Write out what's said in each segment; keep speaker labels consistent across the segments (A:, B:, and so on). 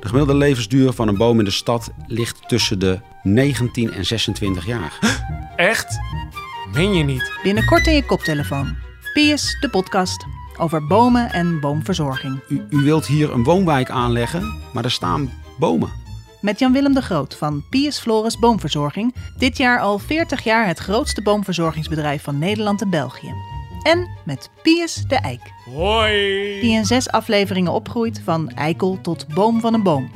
A: gemiddelde levensduur van een boom in de stad ligt tussen de 19 en 26 jaar.
B: Echt? Meen je niet?
C: Binnenkort in je koptelefoon. PS, de podcast over bomen en boomverzorging.
A: U, u wilt hier een woonwijk aanleggen, maar er staan bomen.
C: Met Jan-Willem de Groot van PS Flores Boomverzorging. Dit jaar al 40 jaar het grootste boomverzorgingsbedrijf van Nederland en België. En met Pius de Eik,
B: Hoi!
C: die in zes afleveringen opgroeit van eikel tot boom van een boom.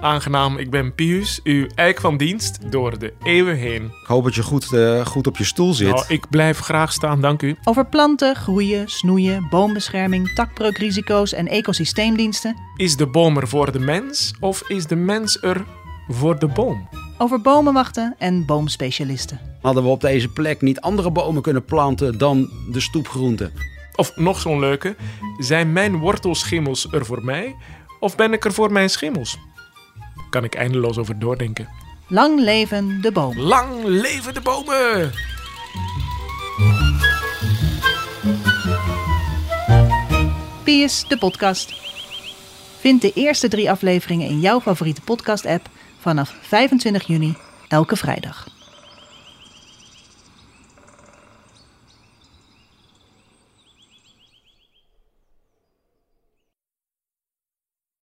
B: Aangenaam, ik ben Pius, uw eik van dienst door de eeuwen heen.
A: Ik hoop dat je goed, eh, goed op je stoel zit.
B: Nou, ik blijf graag staan, dank u.
C: Over planten, groeien, snoeien, boombescherming, takbreukrisico's en ecosysteemdiensten.
B: Is de boom er voor de mens of is de mens er voor de boom?
C: Over bomenwachten en boomspecialisten.
A: Hadden we op deze plek niet andere bomen kunnen planten dan de stoepgroenten?
B: Of nog zo'n leuke, zijn mijn wortelschimmels er voor mij of ben ik er voor mijn schimmels? Kan ik eindeloos over doordenken.
C: Lang leven de boom.
B: Lang leven de bomen!
C: Pius, de podcast. Vind de eerste drie afleveringen in jouw favoriete podcast-app vanaf 25 juni elke vrijdag.